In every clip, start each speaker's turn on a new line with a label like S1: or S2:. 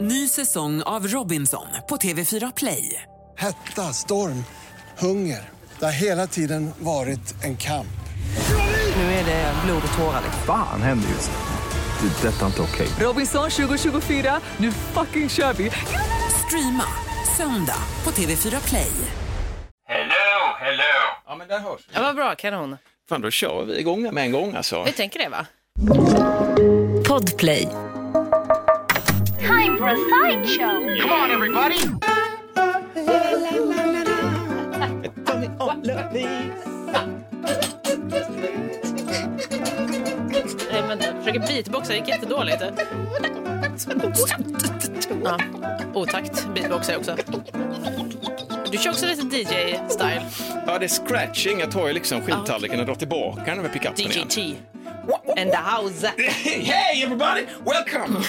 S1: Ny säsong av Robinson på TV4 Play.
S2: Hetta, storm, hunger. Det har hela tiden varit en kamp.
S1: Nu är det blod och tårar. liksom.
S3: Fan händer just nu. Det. är Detta är inte okej.
S1: Robinson 2024, nu fucking kör vi! Streama söndag på TV4 Play.
S4: Hello, hello!
S5: Ja, men där hörs vi.
S6: Ja, vad bra, kanon.
S5: Fan, då kör vi igång det med en gång alltså.
S6: Vi tänker det, va?
S7: Podplay.
S8: time for a sideshow.
S6: Nej, men jag försöker beatboxa, det gick jättedåligt. Ja, otakt beatboxar jag också. Du kör också lite DJ-style.
S5: Ja, det är scratching. Jag tar ju liksom skivtallriken och drar tillbaka den med pickupen igen.
S6: DJT. And the house.
S5: Hey everybody, welcome!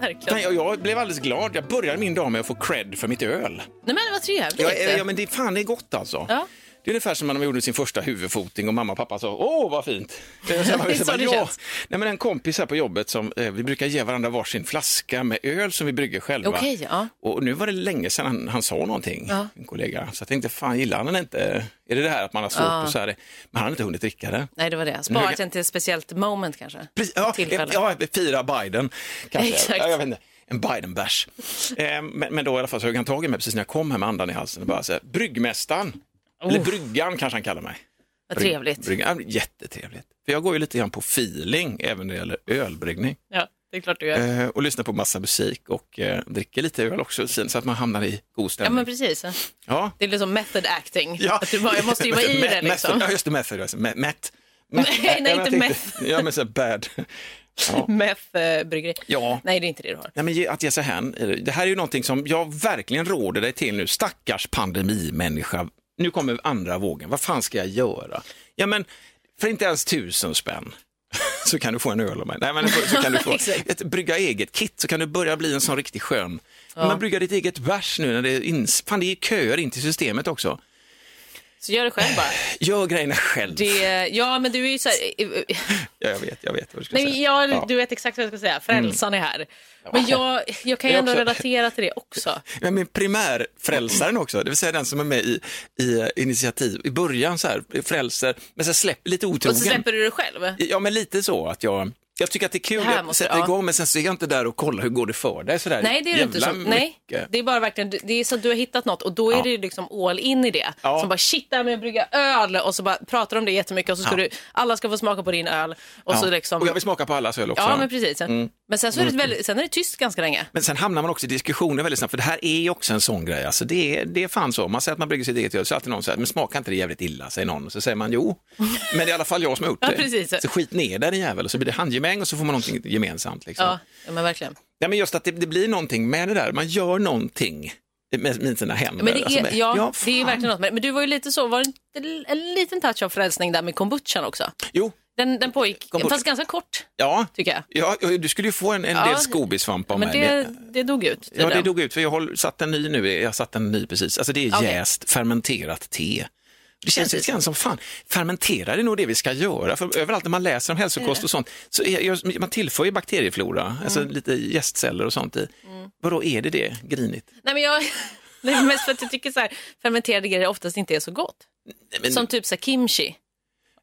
S6: Verkligen.
S5: Nej, och jag blev alldeles glad. Jag började min dag med att få cred för mitt öl.
S6: Nej, men vad trevligt.
S5: Ja, eh, ja men det, fan, det är gott alltså.
S6: Ja.
S5: Det är ungefär som när man gjorde sin första huvudfoting och mamma och pappa sa åh vad fint. Det är så
S6: Det är så det
S5: ja.
S6: känns.
S5: Nej, men en kompis här på jobbet som eh, vi brukar ge varandra varsin flaska med öl som vi brygger själva.
S6: Okej, ja.
S5: Och nu var det länge sedan han, han sa någonting,
S6: Ja.
S5: en kollega. Så jag tänkte fan gillar han den inte? Är det det här att man har svårt
S6: Ja.
S5: att säga det? Men han har inte hunnit dricka det.
S6: Nej, det var det. Sparat den till ett speciellt moment kanske.
S5: Precis, ja,
S6: Tillfälle.
S5: ja, fira Biden. Kanske.
S6: Exakt.
S5: Ja, jag vet inte. En Biden-bärs. eh, men, men då i alla fall så högg han tag i mig precis när jag kom här med andan i halsen och bara så här, bryggmästaren, eller bryggan kanske han kallar mig.
S6: Vad
S5: Bryg-
S6: Oh. trevligt.
S5: Bryggan. Ja, Jättetrevligt. För jag går ju lite grann på feeling även när det gäller ölbryggning
S6: Ja, det är klart du gör.
S5: eh, och lyssnar på massa musik och eh, dricker lite öl också så att man hamnar i god
S6: Ja, men
S5: stämning.
S6: precis.
S5: Ja,
S6: Det är liksom method acting. Att du bara, jag måste ju vara i
S5: Met-
S6: det liksom.
S5: method- Ja, just det, method. Alltså. Met, met, met,
S6: Nej,
S5: Ja, men
S6: nej,
S5: jag
S6: inte
S5: tänkte- Ja, men så här bad. Ja.
S6: Meth eh, bryggeri.
S5: ja.
S6: Nej, det är inte det du har.
S5: Nej, men ge- att ge sig hän, är det- det här är ju någonting som jag verkligen råder dig till nu, stackars pandemimänniska. Nu kommer andra vågen, vad fan ska jag göra? Ja, men för inte ens tusen spänn så kan du få en öl av mig. Nej, men så kan du få
S6: Exakt.
S5: ett brygga eget-kit så kan du börja bli en sån riktig skön. Men brygga ditt eget bärs nu när det är, ins- fan, det är köer in till systemet också.
S6: Så gör det själv bara.
S5: Gör grejerna själv.
S6: Det, ja, men du är ju så här,
S5: Ja, jag vet, jag vet vad du ska
S6: Nej,
S5: säga.
S6: jag,
S5: Ja. Mm.
S6: Du vet exakt vad jag ska säga. Frälsaren är här. Men jag, jag kan ju
S5: Jag
S6: ändå
S5: också.
S6: relatera till det också.
S5: Ja, men primärfrälsaren också, det vill säga den som är med i, i eh, initiativ, i början så här, frälser, men sen släpper lite
S6: Och
S5: otrogen.
S6: så släpper du det själv.
S5: Ja, men lite så att jag, jag tycker att det är kul,
S6: Det här
S5: jag
S6: måste-
S5: sätter
S6: ja.
S5: igång, men sen så är jag inte där och kollar hur går det för dig sådär
S6: Nej, det är det inte.
S5: jävla
S6: Som, nej,
S5: mycket.
S6: det är bara verkligen, det är så att du har hittat något och då är
S5: Ja.
S6: det ju liksom all in i det.
S5: Ja.
S6: Som bara shit, det här med att brygga öl och så bara pratar om det jättemycket och så ska
S5: Ja.
S6: du, alla ska få smaka på din öl och
S5: Ja.
S6: så liksom.
S5: Och jag vill smaka på Mm. allas öl också.
S6: ja, men precis. Men sen så är det väldigt, sen är det tyst ganska länge.
S5: Men sen hamnar man också i diskussioner väldigt snabbt, för det här är ju också en sån grej. Alltså det, är, det är fan så. Man säger att man brygger sitt eget öl, så är alltid någon säger, men smakar inte det jävligt illa, säger någon. Och så säger man jo, men det är i alla fall jag som har gjort
S6: Ja,
S5: det.
S6: precis.
S5: så skit ner den jävel, och så blir det handgemäng och så får man någonting gemensamt. Liksom.
S6: Ja, ja, men verkligen.
S5: Nej, men just att det, det blir någonting med det där, man gör någonting med, med sina händer.
S6: Men det
S5: Alltså
S6: är,
S5: med-
S6: ja,
S5: fan.
S6: det är verkligen något. Men men du var ju lite så, var det inte en liten touch av frälsning där med kombuchan också?
S5: Jo,
S6: Den, den pågick,
S5: Kombucha.
S6: fast ganska kort
S5: ja.
S6: tycker jag.
S5: Ja, du skulle ju få en, en
S6: Ja,
S5: del skobisvamp av
S6: Men
S5: mig.
S6: det, det dog ut.
S5: Ja, det
S6: tydligen.
S5: dog ut, för jag har satt en ny nu. Jag har satt en ny precis. Alltså det är
S6: Okej.
S5: jäst fermenterat te. Det känns
S6: Precis.
S5: lite grann som, fan, fermentera det är nog det vi ska göra. För överallt när man läser om hälsokost och sånt, så är, gör- man tillför ju bakterieflora,
S6: Mm.
S5: alltså lite jästceller och sånt i. Vadå, är det det? Grinigt?
S6: Nej, men jag... Nej, men mest för att jag tycker så här, fermenterade grejer oftast inte är så gott.
S5: Nej, men-
S6: Som typ så här kimchi.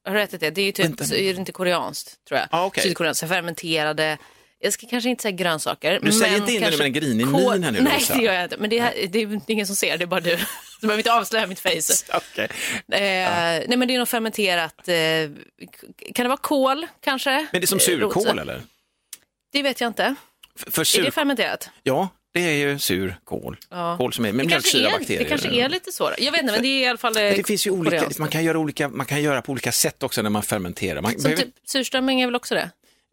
S6: Har du ätit det? Det är ju typ,
S5: Vänta.
S6: så är det inte koreanskt tror jag.
S5: Ah, okej.
S6: Sydkoreanskt, så här fermenterade. Jag ska kanske inte säga grönsaker.
S5: Du säger
S6: men
S5: inte in det
S6: kanske
S5: med en grinig
S6: kål-
S5: min här nu,
S6: Nej,
S5: Lisa.
S6: det gör jag inte. Men det, här, det är ingen som ser, det är bara du. Du behöver inte avslöja mitt face.
S5: Okej.
S6: Eh, Nej, men det är något fermenterat. Eh, kan det vara kål kanske?
S5: Men det är som
S6: Eh,
S5: surkål
S6: rot-
S5: eller?
S6: Det vet jag inte.
S5: För, för
S6: Är
S5: sur...
S6: det fermenterat?
S5: Ja, det är ju surkål.
S6: Ja.
S5: Kål som är med
S6: Det kanske,
S5: mjölksyra,
S6: är, det
S5: bakterier.
S6: kanske är lite så. då. Jag vet inte, men det är i alla fall eh,
S5: Men det finns ju olika,
S6: koreanskt.
S5: man kan, göra olika, man kan göra på olika sätt också när man fermenterar. Man
S6: Som
S5: behöver,
S6: typ surströmming är väl också det?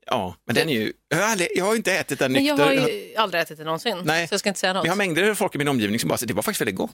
S5: ja, men den är ju, jag har, aldrig, jag har inte ätit den
S6: Men
S5: nykter.
S6: jag har ju aldrig ätit det någonsin,
S5: Nej.
S6: så jag ska inte säga något.
S5: Men Jag har mängder av folk i min omgivning som bara säger det var faktiskt väldigt gott.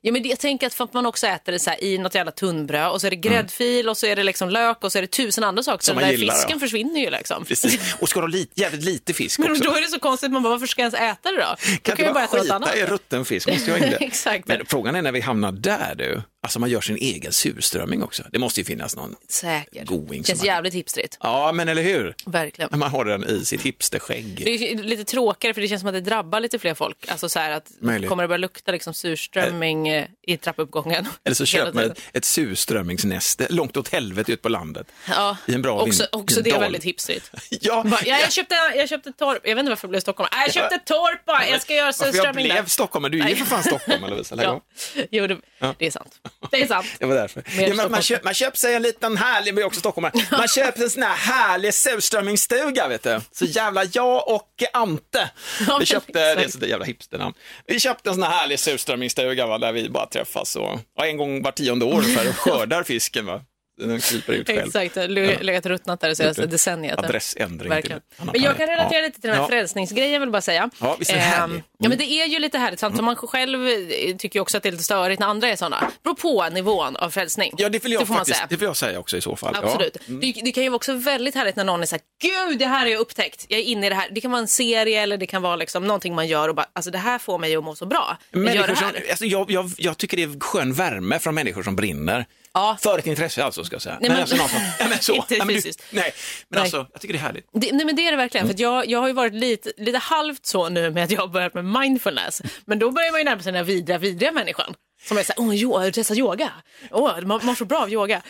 S6: Ja, men det, jag tänker att för att man också äter det så här, i något jävla tunnbröd och så är det gräddfil och så är det liksom lök och så är det tusen andra saker. Så
S5: Mm. Som man
S6: den där
S5: gillar,
S6: fisken
S5: ja.
S6: försvinner ju liksom.
S5: Precis. Och ska de lite, jävligt lite fisk
S6: Men
S5: också.
S6: då är det så konstigt, man bara varför ska jag ens äta det då? Då
S5: Kan
S6: kan
S5: inte
S6: jag bara
S5: bara
S6: äta något
S5: skita
S6: annat.
S5: i rutten fisk, måste jag inte.
S6: Exakt.
S5: Men frågan är när vi hamnar där du, Alltså man gör sin egen surströmming också. Det måste ju finnas någon.
S6: Säkert.
S5: Going
S6: Känns
S5: som-
S6: jävligt hipstrigt.
S5: Ja, men eller hur?
S6: Verkligen.
S5: När man har den i sitt hipsterskägg.
S6: Det är ju lite tråkigare för det känns som att det drabbar lite fler folk. Alltså så här att
S5: Möjligt.
S6: kommer det börja lukta liksom surströmming eh, i trappuppgången.
S5: Eller så
S6: Hela
S5: köper man
S6: tiden.
S5: ett, ett surströmmingsnäste långt åt helvete ut på landet.
S6: Ja,
S5: i en bra
S6: också,
S5: vin-
S6: också det är
S5: dal.
S6: väldigt hipstrigt.
S5: Ja,
S6: Bara, Ja, jag, köpte, jag köpte torp. Jag vet inte varför jag blev Stockholm. Nej, jag köpte torp bara. Jag ska göra
S5: varför jag
S6: surströmming
S5: blev
S6: där.
S5: stockholmare? Du är ju
S6: Nej.
S5: för fan stockholmare Lovisa, lägg av.
S6: Ja. Jo, det, det är sant. Det är sant.
S5: Det var därför. Ja,
S6: Mer
S5: men man,
S6: Stockholm.
S5: köp, man köper sig en liten härlig, men jag är också stockholmare, man köper sig en sån här härlig surströmmingsstuga vet du. Så jävla jag och Ante,
S6: Ja,
S5: vi
S6: men
S5: köpte, det
S6: exakt.
S5: är ett sånt där jävla hipsternamn, vi köpte en sån här härlig surströmmingsstuga va, där vi bara träffas och, ja, en gång var tionde år ungefär och skördar fisken va. Den kryper ut själv.
S6: Exakt, jag har le- legat ruttnat där det senaste decenniet.
S5: Adressändring
S6: Verkligen.
S5: till en annan
S6: Men jag kan
S5: planet.
S6: relatera
S5: Ja.
S6: lite till den här
S5: Ja.
S6: frälsningsgrejen vill jag bara säga.
S5: Ja, visst är det Mm. härligt.
S6: Ehm, ja, men det är ju lite härligt, sant? Så man själv eh, tycker ju också att det är lite störigt när andra är sådana. Beror på nivån av frälsning.
S5: Ja, det vill jag
S6: får
S5: faktiskt,
S6: man
S5: det
S6: säga.
S5: vill jag säga också i så fall.
S6: Absolut.
S5: Ja. Mm.
S6: Det, det kan ju vara också väldigt härligt när någon är så här, gud det här har jag upptäckt, jag är inne i det här. Det kan vara en serie eller det kan vara liksom någonting man gör och bara, alltså det här får mig att må så bra. Jag gör
S5: Människor
S6: det
S5: som,
S6: här.
S5: alltså jag, jag, jag tycker det är skön värme från människor som brinner.
S6: Ja.
S5: För ett intresse alltså, ska jag säga.
S6: Nej, men-
S5: alltså, någon som, nej, men så.
S6: Inte
S5: nej, men du,
S6: fysiskt.
S5: nej, men
S6: Nej.
S5: alltså, jag tycker det är härligt.
S6: Det, nej men det är det
S5: Mm.
S6: verkligen. För att jag, jag har ju varit lite, lite halvt så nu med att jag har börjat med mindfulness. Men då börjar man ju närma sig den här vidriga, vidriga människan. Som är såhär, åh, yo, testa yoga. Åh, man mår så bra av yoga.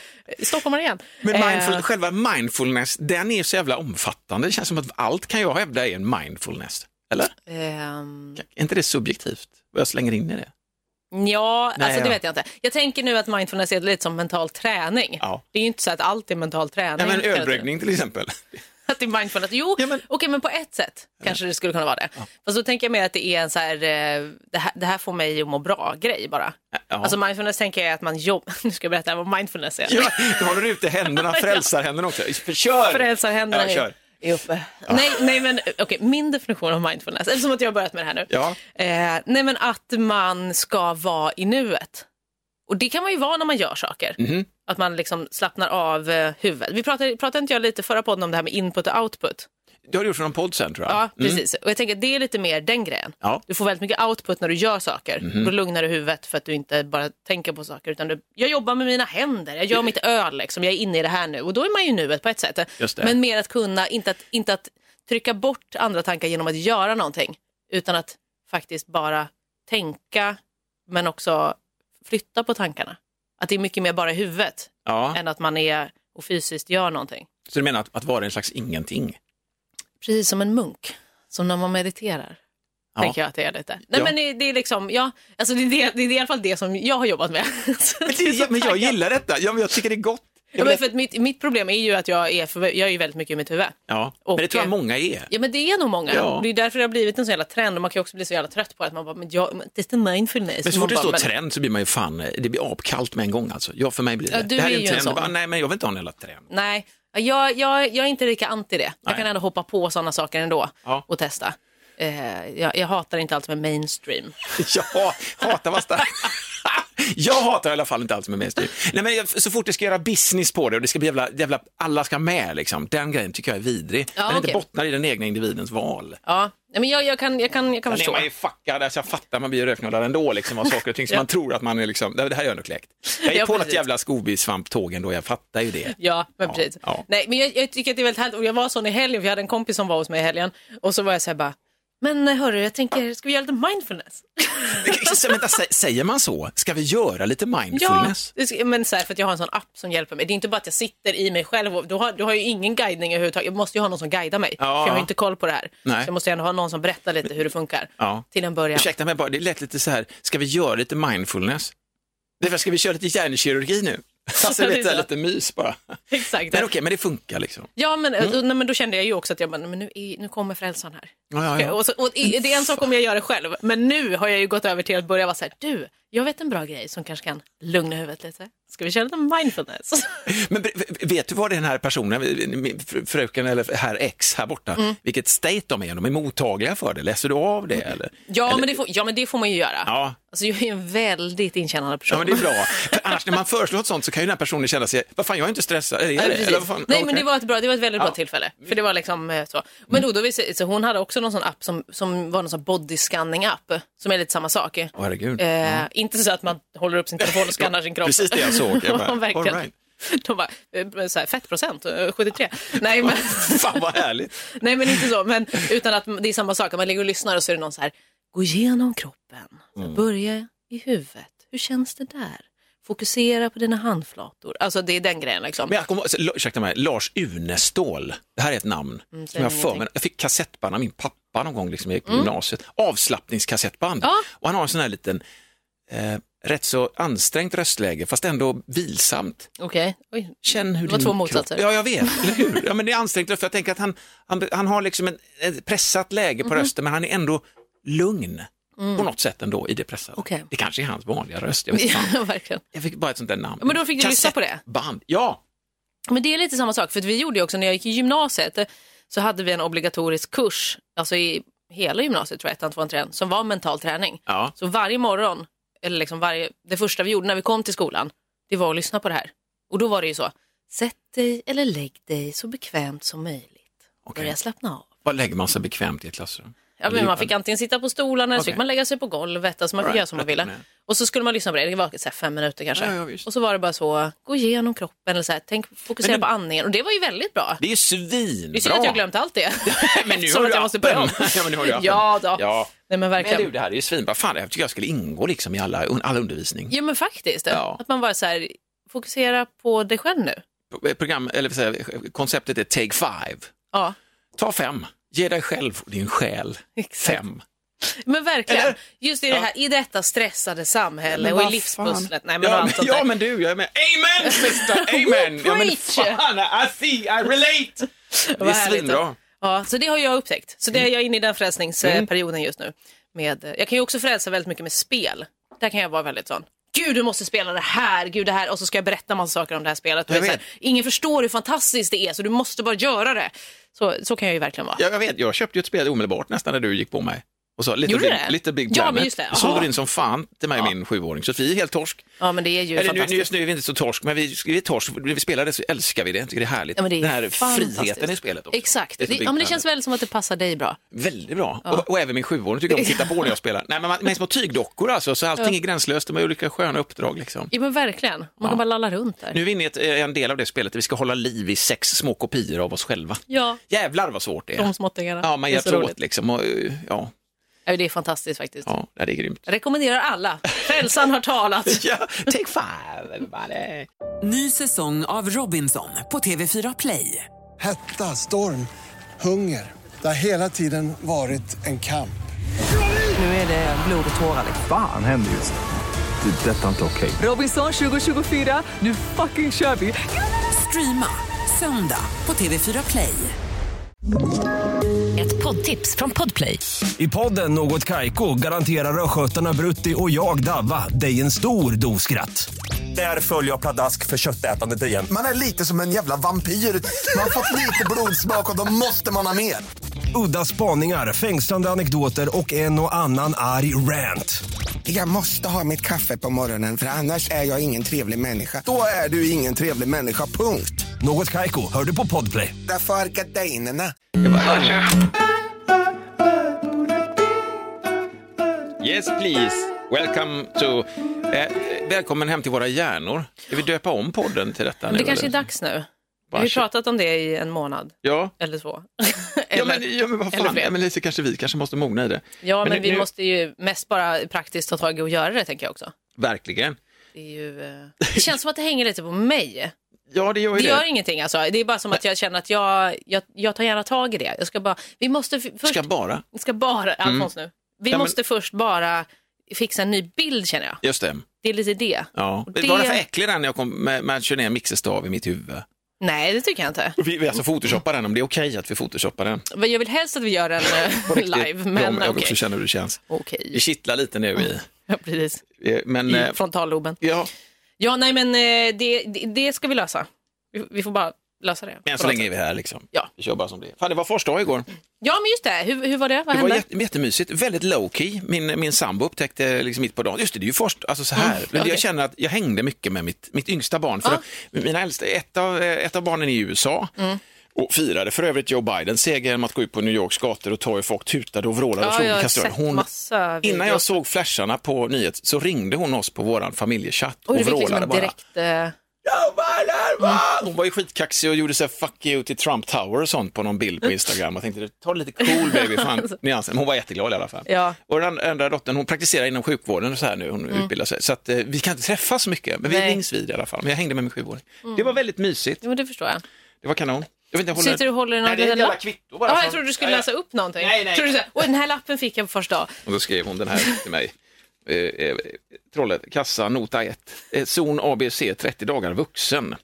S6: Stockholmare igen.
S5: Men mindful,
S6: Eh,
S5: själva mindfulness, den är ju så jävla omfattande. Det känns som att allt kan jag hävda är en mindfulness. Eller?
S6: ehm,
S5: Är inte det subjektivt? Vad jag slänger in i det?
S6: ja,
S5: Nej,
S6: alltså det
S5: ja.
S6: vet jag inte. Jag tänker nu att mindfulness är lite som mental träning.
S5: Ja.
S6: Det är ju inte så att allt är mental träning.
S5: Nej, men
S6: hela tiden.
S5: ölbryggning till exempel.
S6: Att det är mindfulness. Jo,
S5: Ja, men-
S6: okej, men på ett sätt kanske det skulle kunna vara det. Fast då tänker jag mer att det är en så här, eh, det här, det här får mig att må bra-grej bara.
S5: Ja.
S6: Alltså mindfulness tänker jag att man jobbar, nu ska jag berätta vad mindfulness är.
S5: Ja, då håller du ute händerna, frälsarhänderna också. Kör!
S6: Frälsarhänderna
S5: Ja, kör. Ah.
S6: är, är uppe. Nej, nej, men okej, min definition av mindfulness, eftersom att jag har börjat med det här nu.
S5: Ja.
S6: Eh, nej, men att man ska vara i nuet. Och det kan man ju vara när man gör saker.
S5: Mhm.
S6: Att man liksom slappnar av eh, huvudet. Vi pratade, pratade inte jag lite förra podden om det här med input och output?
S5: Du har gjort för någon podd sen tror jag.
S6: Ja, precis. Och jag tänker att det är lite mer den grejen.
S5: Mm. Ja. Mhm.
S6: Du får väldigt mycket output när du gör saker. Då lugnar du huvudet för att du inte bara tänker på saker. Utan du, jag jobbar med mina händer, jag gör mitt öl, liksom. jag är inne i det här nu. Och då är man ju i nuet på ett sätt.
S5: Just det.
S6: Men mer att kunna, inte att, inte att trycka bort andra tankar genom att göra någonting. Utan att faktiskt bara tänka, men också flytta på tankarna. Att det är mycket mer bara i huvudet
S5: Ja.
S6: än att man är och fysiskt gör någonting.
S5: Så du menar att, att vara en slags ingenting?
S6: Precis som en munk, som när man mediterar.
S5: Ja.
S6: Tänker jag att det är lite. Nej,
S5: Ja.
S6: men det, det är liksom, ja, alltså det, är det, det är i alla fall det som jag har jobbat med. Så
S5: Men,
S6: det är så
S5: det, men jag
S6: taggat.
S5: gillar detta. Ja, men jag tycker det är gott.
S6: Ja,
S5: Jag
S6: men
S5: vill-
S6: för att mitt, mitt problem är ju att jag är, för, jag är ju väldigt mycket i mitt huvud.
S5: Ja,
S6: Och-
S5: men det tror jag många är.
S6: Ja men det är nog många.
S5: Ja.
S6: Det är därför det har blivit en sån jävla trend och man kan ju också bli så jävla trött på att man bara, men jag, men det är mindfulness.
S5: Men så
S6: Man
S5: fort det
S6: bara,
S5: står
S6: men-
S5: trend så blir man ju fan, det blir apkallt med en gång alltså. Ja, för mig blir det.
S6: Ja, du
S5: det här
S6: är
S5: är en
S6: ju en
S5: trend.
S6: sån.
S5: Bara, nej, men jag vill inte ha en jävla trend.
S6: Nej, jag, jag, jag är inte lika anti det. Jag
S5: Nej.
S6: kan ändå hoppa på sådana saker ändå
S5: Ja.
S6: och testa. Eh, jag, jag hatar inte allt som är mainstream.
S5: Jag hatar vasta. Jag hatar i alla fall inte allt som är mainstream. Nej, men jag- så fort det ska göra business på det och det ska bli jävla, jävla alla ska med liksom. Den grejen tycker jag är vidrig.
S6: Ja,
S5: Den inte
S6: okej.
S5: bottnar i den egna individens val.
S6: Ja, Nej, men jag, jag kan, jag kan, jag kan
S5: Sen är
S6: förstå.
S5: man ju fuckad, alltså jag fattar man blir ju rödknullad ändå liksom av saker och ting som man tror att man är liksom, det här är jag nog kläckt. Jag är
S6: Ja,
S5: på något
S6: precis.
S5: jävla Scooby-svamptåg ändå, jag fattar ju det.
S6: Ja, men
S5: Ja,
S6: precis.
S5: ja.
S6: Nej, men jag, jag tycker att det är väldigt härligt. Och jag var sån i helgen, för jag hade en kompis som var hos mig i helgen. Och så var jag så här bara, men eh, hörru, jag tänker, ska vi göra lite mindfulness?
S5: Så, vänta, sä- säger man så? Ska vi göra lite mindfulness?
S6: det ska- men så här, för att jag har en sån app som hjälper mig. Det är inte bara att jag sitter i mig själv. Och, du, har, du har ju ingen guidning överhuvudtaget. Jag måste ju ha någon som guidar mig. för jag har
S5: ja.
S6: ju inte koll på det här.
S5: Nej.
S6: Så jag måste ju ändå ha någon som berättar lite hur det funkar.
S5: Ja.
S6: Till en början.
S5: Ursäkta mig bara, det lät lite så här, ska vi göra lite mindfulness? Det är för, ska vi köra lite hjärnkirurgi nu? Alltså,
S6: Ja, det
S5: vet,
S6: är
S5: så här,
S6: så.
S5: lite mys bara.
S6: Exakt.
S5: Men okej, men det funkar liksom.
S6: Ja, men, nej, men då kände jag ju också att jag bara, nej, men nu, är, nu kommer frälsaren här.
S5: Ja, ja,
S6: Okej,
S5: ja.
S6: Och så, och i- det är en sak om jag gör det själv, men nu har jag ju gått över till att börja vara så här, du, jag vet en bra grej som kanske kan lugna huvudet lite. Ska vi köra lite mindfulness?
S5: Men b- vet du vad den här personen, min fr- fröken eller herr X här borta,
S6: Mm.
S5: vilket state de är i? De är mottagliga för det. Läser du av det eller?
S6: Ja, men det får, ja, men det får man ju göra.
S5: Ja.
S6: Alltså, jag är en väldigt inkännande person.
S5: Ja, men det är bra. För annars när man föreslår något sånt så kan ju den här personen känna sig, vad fan jag är inte stressad. Eller, är
S6: Nej,
S5: det?
S6: precis.
S5: eller vad fan?
S6: Nej
S5: Ja,
S6: men
S5: okej.
S6: det
S5: Mm.
S6: var ett, bra, det var ett väldigt bra tillfälle. För det var liksom eh, så. Men då, då vill säga- så hon hade också någon sån app som, som var någon sån body scanning app som är lite samma sak.
S5: Åh, herregud.
S6: Eh, Inte så att man håller upp sin telefon och scannar sin kropp.
S5: Precis det jag såg. Jag bara,
S6: Ja, Verkligen.
S5: all right.
S6: De bara, eh, så här, fettprocent, eh, 73. Nej men,
S5: Fan vad härligt.
S6: nej men inte så, men utan att det är samma sak. Man ligger och lyssnar och så är det någon så här, gå igenom kroppen, så
S5: Mm.
S6: här, börja i huvudet, hur känns det där? Fokusera på dina handflator. Alltså det är den grejen liksom.
S5: Men jag kommer, så, la- ursäkta mig, Lars Unestål, det här är ett namn som
S6: säger
S5: jag har för mig.
S6: Mm, ingenting. Mm.
S5: Jag fick kassettband av min pappa någon gång liksom, i gymnasiet, avslappningskassettband.
S6: Ja.
S5: Och han har en sån här liten, eh, rätt så ansträngt röstläge fast ändå vilsamt.
S6: Okej, Oj.
S5: Känn hur
S6: Det var
S5: din
S6: två
S5: kropp-
S6: motsatser.
S5: Ja, jag vet. Eller hur? Ja, men det är ansträngt för jag tänker att han, han, han har liksom en, ett pressat läge på
S6: Mhm.
S5: rösten men han är ändå lugn på något sätt ändå i det pressade.
S6: Mm. Okej.
S5: Det kanske är hans vanliga röst, jag vet inte. fan.
S6: Ja, verkligen.
S5: Jag fick bara ett sånt där namn.
S6: Men då fick du lyssna på det?
S5: Kassettband, ja.
S6: Men det är lite samma sak, för att vi gjorde ju också när jag gick i gymnasiet eh, så hade vi en obligatorisk kurs, alltså i hela gymnasiet tror jag, ettan, tvåan, trean, som var mental träning.
S5: Ja.
S6: Så varje morgon, eller liksom varje, det första vi gjorde när vi kom till skolan, det var att lyssna på det här. Och då var det ju så, sätt dig eller lägg dig så bekvämt som möjligt.
S5: Okej.
S6: Börja slappna av.
S5: Vad lägger man sig bekvämt i ett klassrum?
S6: Ja, men man fick antingen sitta på stolarna eller så
S5: Okej.
S6: fick man lägga sig på golvet. Alltså man fick
S5: Alright,
S6: göra som man ville.
S5: rätt upp och
S6: Och så skulle man lyssna på det. Det var så här fem minuter kanske.
S5: Ja, ja, visst.
S6: och så var det bara så, gå igenom kroppen eller så här, tänk, fokusera
S5: Men
S6: på andningen. Och det var ju väldigt bra.
S5: Det är ju
S6: Det är synd
S5: svinbra.
S6: att jag glömt allt det.
S5: Men nu
S6: Som
S5: har
S6: att
S5: du
S6: jag måste börja om.
S5: appen. ja, men nu har du appen.
S6: Ja, då.
S5: Ja.
S6: Nej, men
S5: Men
S6: verkligen.
S5: du, det här är ju svinbra. Fan, jag tycker jag skulle ingå liksom i alla, un- all undervisning.
S6: Ja men faktiskt.
S5: Ja.
S6: Att man bara så här, fokusera på dig själv nu.
S5: P- Program, eller vad säger jag, konceptet är take five.
S6: Ja,
S5: Ta fem. Ge dig själv och din själ
S6: Exakt.
S5: fem.
S6: men verkligen.
S5: Eller?
S6: Just i det här, i detta stressade samhälle och i livspusslet. Nej men och
S5: ja,
S6: allt
S5: men,
S6: sånt
S5: ja,
S6: där.
S5: men du, jag är med. Amen, sister, amen! ja, men
S6: Preach!
S5: fan, I see, I relate! Det
S6: Vad
S5: är
S6: härligt.
S5: svinbra. Mm.
S6: Ja, så det har jag upptäckt. Så det är jag inne i den frälsningsperioden just nu. Med, eh, jag kan ju också frälsa väldigt mycket med spel. Där kan jag vara väldigt sån. Gud, du måste spela det här, gud det här och så ska jag berätta massa saker om det här spelet. Och
S5: Jag
S6: det är så här, ingen förstår hur fantastiskt det är så du måste bara göra det. Så, så kan jag ju verkligen vara.
S5: Ja, jag vet, jag köpte ju ett spel omedelbart nästan när du gick på mig. Och så, lite,
S6: Gjorde
S5: big,
S6: du det?
S5: lite Big
S6: Ja, men
S5: Planet.
S6: just det.
S5: Jag sålde
S6: Jaha.
S5: den som fan till mig och min sjuåring. Sofie är helt torsk.
S6: Ja, men det är ju
S5: Eller nu, nu-
S6: fantastiskt.
S5: just nu är vi inte så torsk, men vi, vi är torsk. Vi spelar det så älskar vi det. Jag tycker det är härligt.
S6: Ja, men det är
S5: Den här
S6: fantastiskt.
S5: friheten i spelet. Också.
S6: Exakt.
S5: Det är
S6: Det,
S5: så Big
S6: ja, men det
S5: Planet.
S6: känns väl som att det passar dig bra.
S5: Väldigt bra. Och, och även min sjuåring tycker om att titta på när jag spelar. Nej, men man, med små tygdockor alltså, så allting är gränslöst. De har olika sköna uppdrag liksom.
S6: Ja, men verkligen. Man kan bara lalla runt där.
S5: Nu är vi inne i ett, eh, en del av det spelet där vi ska hålla liv i sex små kopior av oss själva.
S6: Ja,
S5: Jävlar vad svårt det är.
S6: de småttingarna.
S5: Ja, man
S6: Det är så
S5: hjälps åt
S6: roligt.
S5: liksom. Och, ja,
S6: Ja, det är fantastiskt faktiskt.
S5: ja, det är grymt.
S6: Jag rekommenderar alla. Frälsaren har talat.
S5: Ja, take five everybody.
S1: Ny säsong av Robinson på TV4 Play.
S2: Hetta, storm, hunger. Det har hela tiden varit en kamp.
S1: Nu är det blod och tårar. liksom.
S3: Fan händer just det. Det är detta inte okej.
S1: Robinson 2024, nu fucking kör vi! Streama söndag på TV4 Play.
S7: Ett poddtips från Podplay.
S8: I podden Något Kaiko garanterar östgötarna Brutti och jag, Davva, dig en stor dos skratt. Där följer jag pladask för köttätandet igen.
S9: Man är lite som en jävla vampyr. Man har fått lite blodsmak och då måste man ha mer.
S8: Udda spaningar, fängslande anekdoter och en och annan arg rant.
S9: Jag måste ha mitt kaffe på morgonen för annars är jag ingen trevlig människa. Då är du ingen trevlig människa, punkt.
S8: Något Kaiko, hör du på Podplay.
S9: Därför arkadeinerna.
S5: Yes please, welcome to... Eh, välkommen hem till våra hjärnor. Ska vi döpa om podden till detta nu?
S6: Det kanske är
S5: eller?
S6: dags nu. Vi har ju
S5: Varsågod.
S6: pratat om det i en månad
S5: Ja.
S6: eller två.
S5: Ja,
S6: Eller-
S5: men, ja, men vad
S6: eller
S5: fan,
S6: fler.
S5: ja, men lite kanske vi kanske måste mogna i det.
S6: ja, men,
S5: nu-
S6: vi
S5: nu-
S6: måste ju mest bara praktiskt ta tag i och göra det, tänker jag också.
S5: Verkligen.
S6: Det, är ju, eh, det känns som att det hänger lite på mig.
S5: Ja, det gör
S6: Det
S5: ju
S6: gör
S5: det.
S6: ingenting, alltså. det är bara som att jag känner att jag, jag, jag tar gärna tag i det. Jag ska bara, vi måste f- först,
S5: Ska bara.
S6: ska bara, Alfons nu, vi
S5: Ja, men-
S6: måste först bara fixa en ny bild känner jag.
S5: Just det.
S6: Det är lite det.
S5: Ja.
S6: Och
S5: Det... Var det för äcklig den när jag kom med, med att köra ner en mixerstav i mitt huvud?
S6: Nej, det tycker jag inte.
S5: Vi, vi alltså photoshoppar den, om det är okej att vi photoshoppar den.
S6: Men Jag vill helst att vi gör en eh, live,
S5: ja, men
S6: men
S5: jag vill
S6: okej.
S5: också känna hur det känns.
S6: Okej,
S5: Det kittlar lite nu i...
S6: Ja, precis.
S5: eh, Men,
S6: I
S5: eh,
S6: frontalloben.
S5: ja,
S6: Ja, nej men eh, det, det, det ska vi lösa. Vi, vi får bara lösa det.
S5: Men så länge är vi här liksom.
S6: Ja.
S5: Vi kör bara som det är. Fan, det var farsdag igår.
S6: Ja, men just det. Hur, hur var det? Vad
S5: Det var
S6: hände?
S5: jätte, jättemysigt, väldigt low key. Min, min sambo upptäckte liksom mitt på dagen, just det, det är ju först, alltså så här.
S6: okej.
S5: Jag känner att jag hängde mycket med mitt, mitt yngsta barn. För att mina äldsta, ett, av, eh, ett av barnen är i USA.
S6: Mm.
S5: och firade för övrigt Joe Bidens seger genom att gå ut på New Yorks gator och ta i folk tutade och vrålade
S6: Ja,
S5: och slog
S6: jag
S5: med
S6: har
S5: kastrullen.
S6: sett massa videos.
S5: innan jag såg flasharna på nyhet så ringde hon oss på vår familjechatt och,
S6: Oj, du fick liksom
S5: vrålade
S6: en
S5: bara.
S6: direkt... Eh,
S5: Joe Biden, va? Hon var ju skitkaxig och gjorde så här fuck you till Trump Tower och sånt på någon bild på Instagram. Jag tänkte ta det lite cool baby, fan nyansen. Men hon var jätteglad i alla fall.
S6: Ja. Mm.
S5: Och den andra dottern hon praktiserar inom sjukvården och så här nu, hon utbildar sig. Så att, eh, vi kan inte träffas så mycket, men vi
S6: Nej. Mm.
S5: rings vid i alla fall. Men jag hängde med min sjuåring. Det var väldigt mysigt,
S6: jo, men det förstår jag.
S5: det var kanon. Jag vet inte, jag håller...
S6: Sitter du och håller i någon
S5: Nej, det är ett
S6: liten
S5: jävla
S6: lapp?
S5: kvitto bara.
S6: Ja,
S5: från-
S6: jag trodde du skulle
S5: Ja, ja.
S6: läsa upp någonting.
S5: Nej, nej.
S6: Tror du så här, "Oj, den här lappen fick jag på första dag.
S5: Och då skrev hon den här till mig. Eh, eh, Trollet, kassa, nota 1. Eh, zon ABC, 30 dagar vuxen.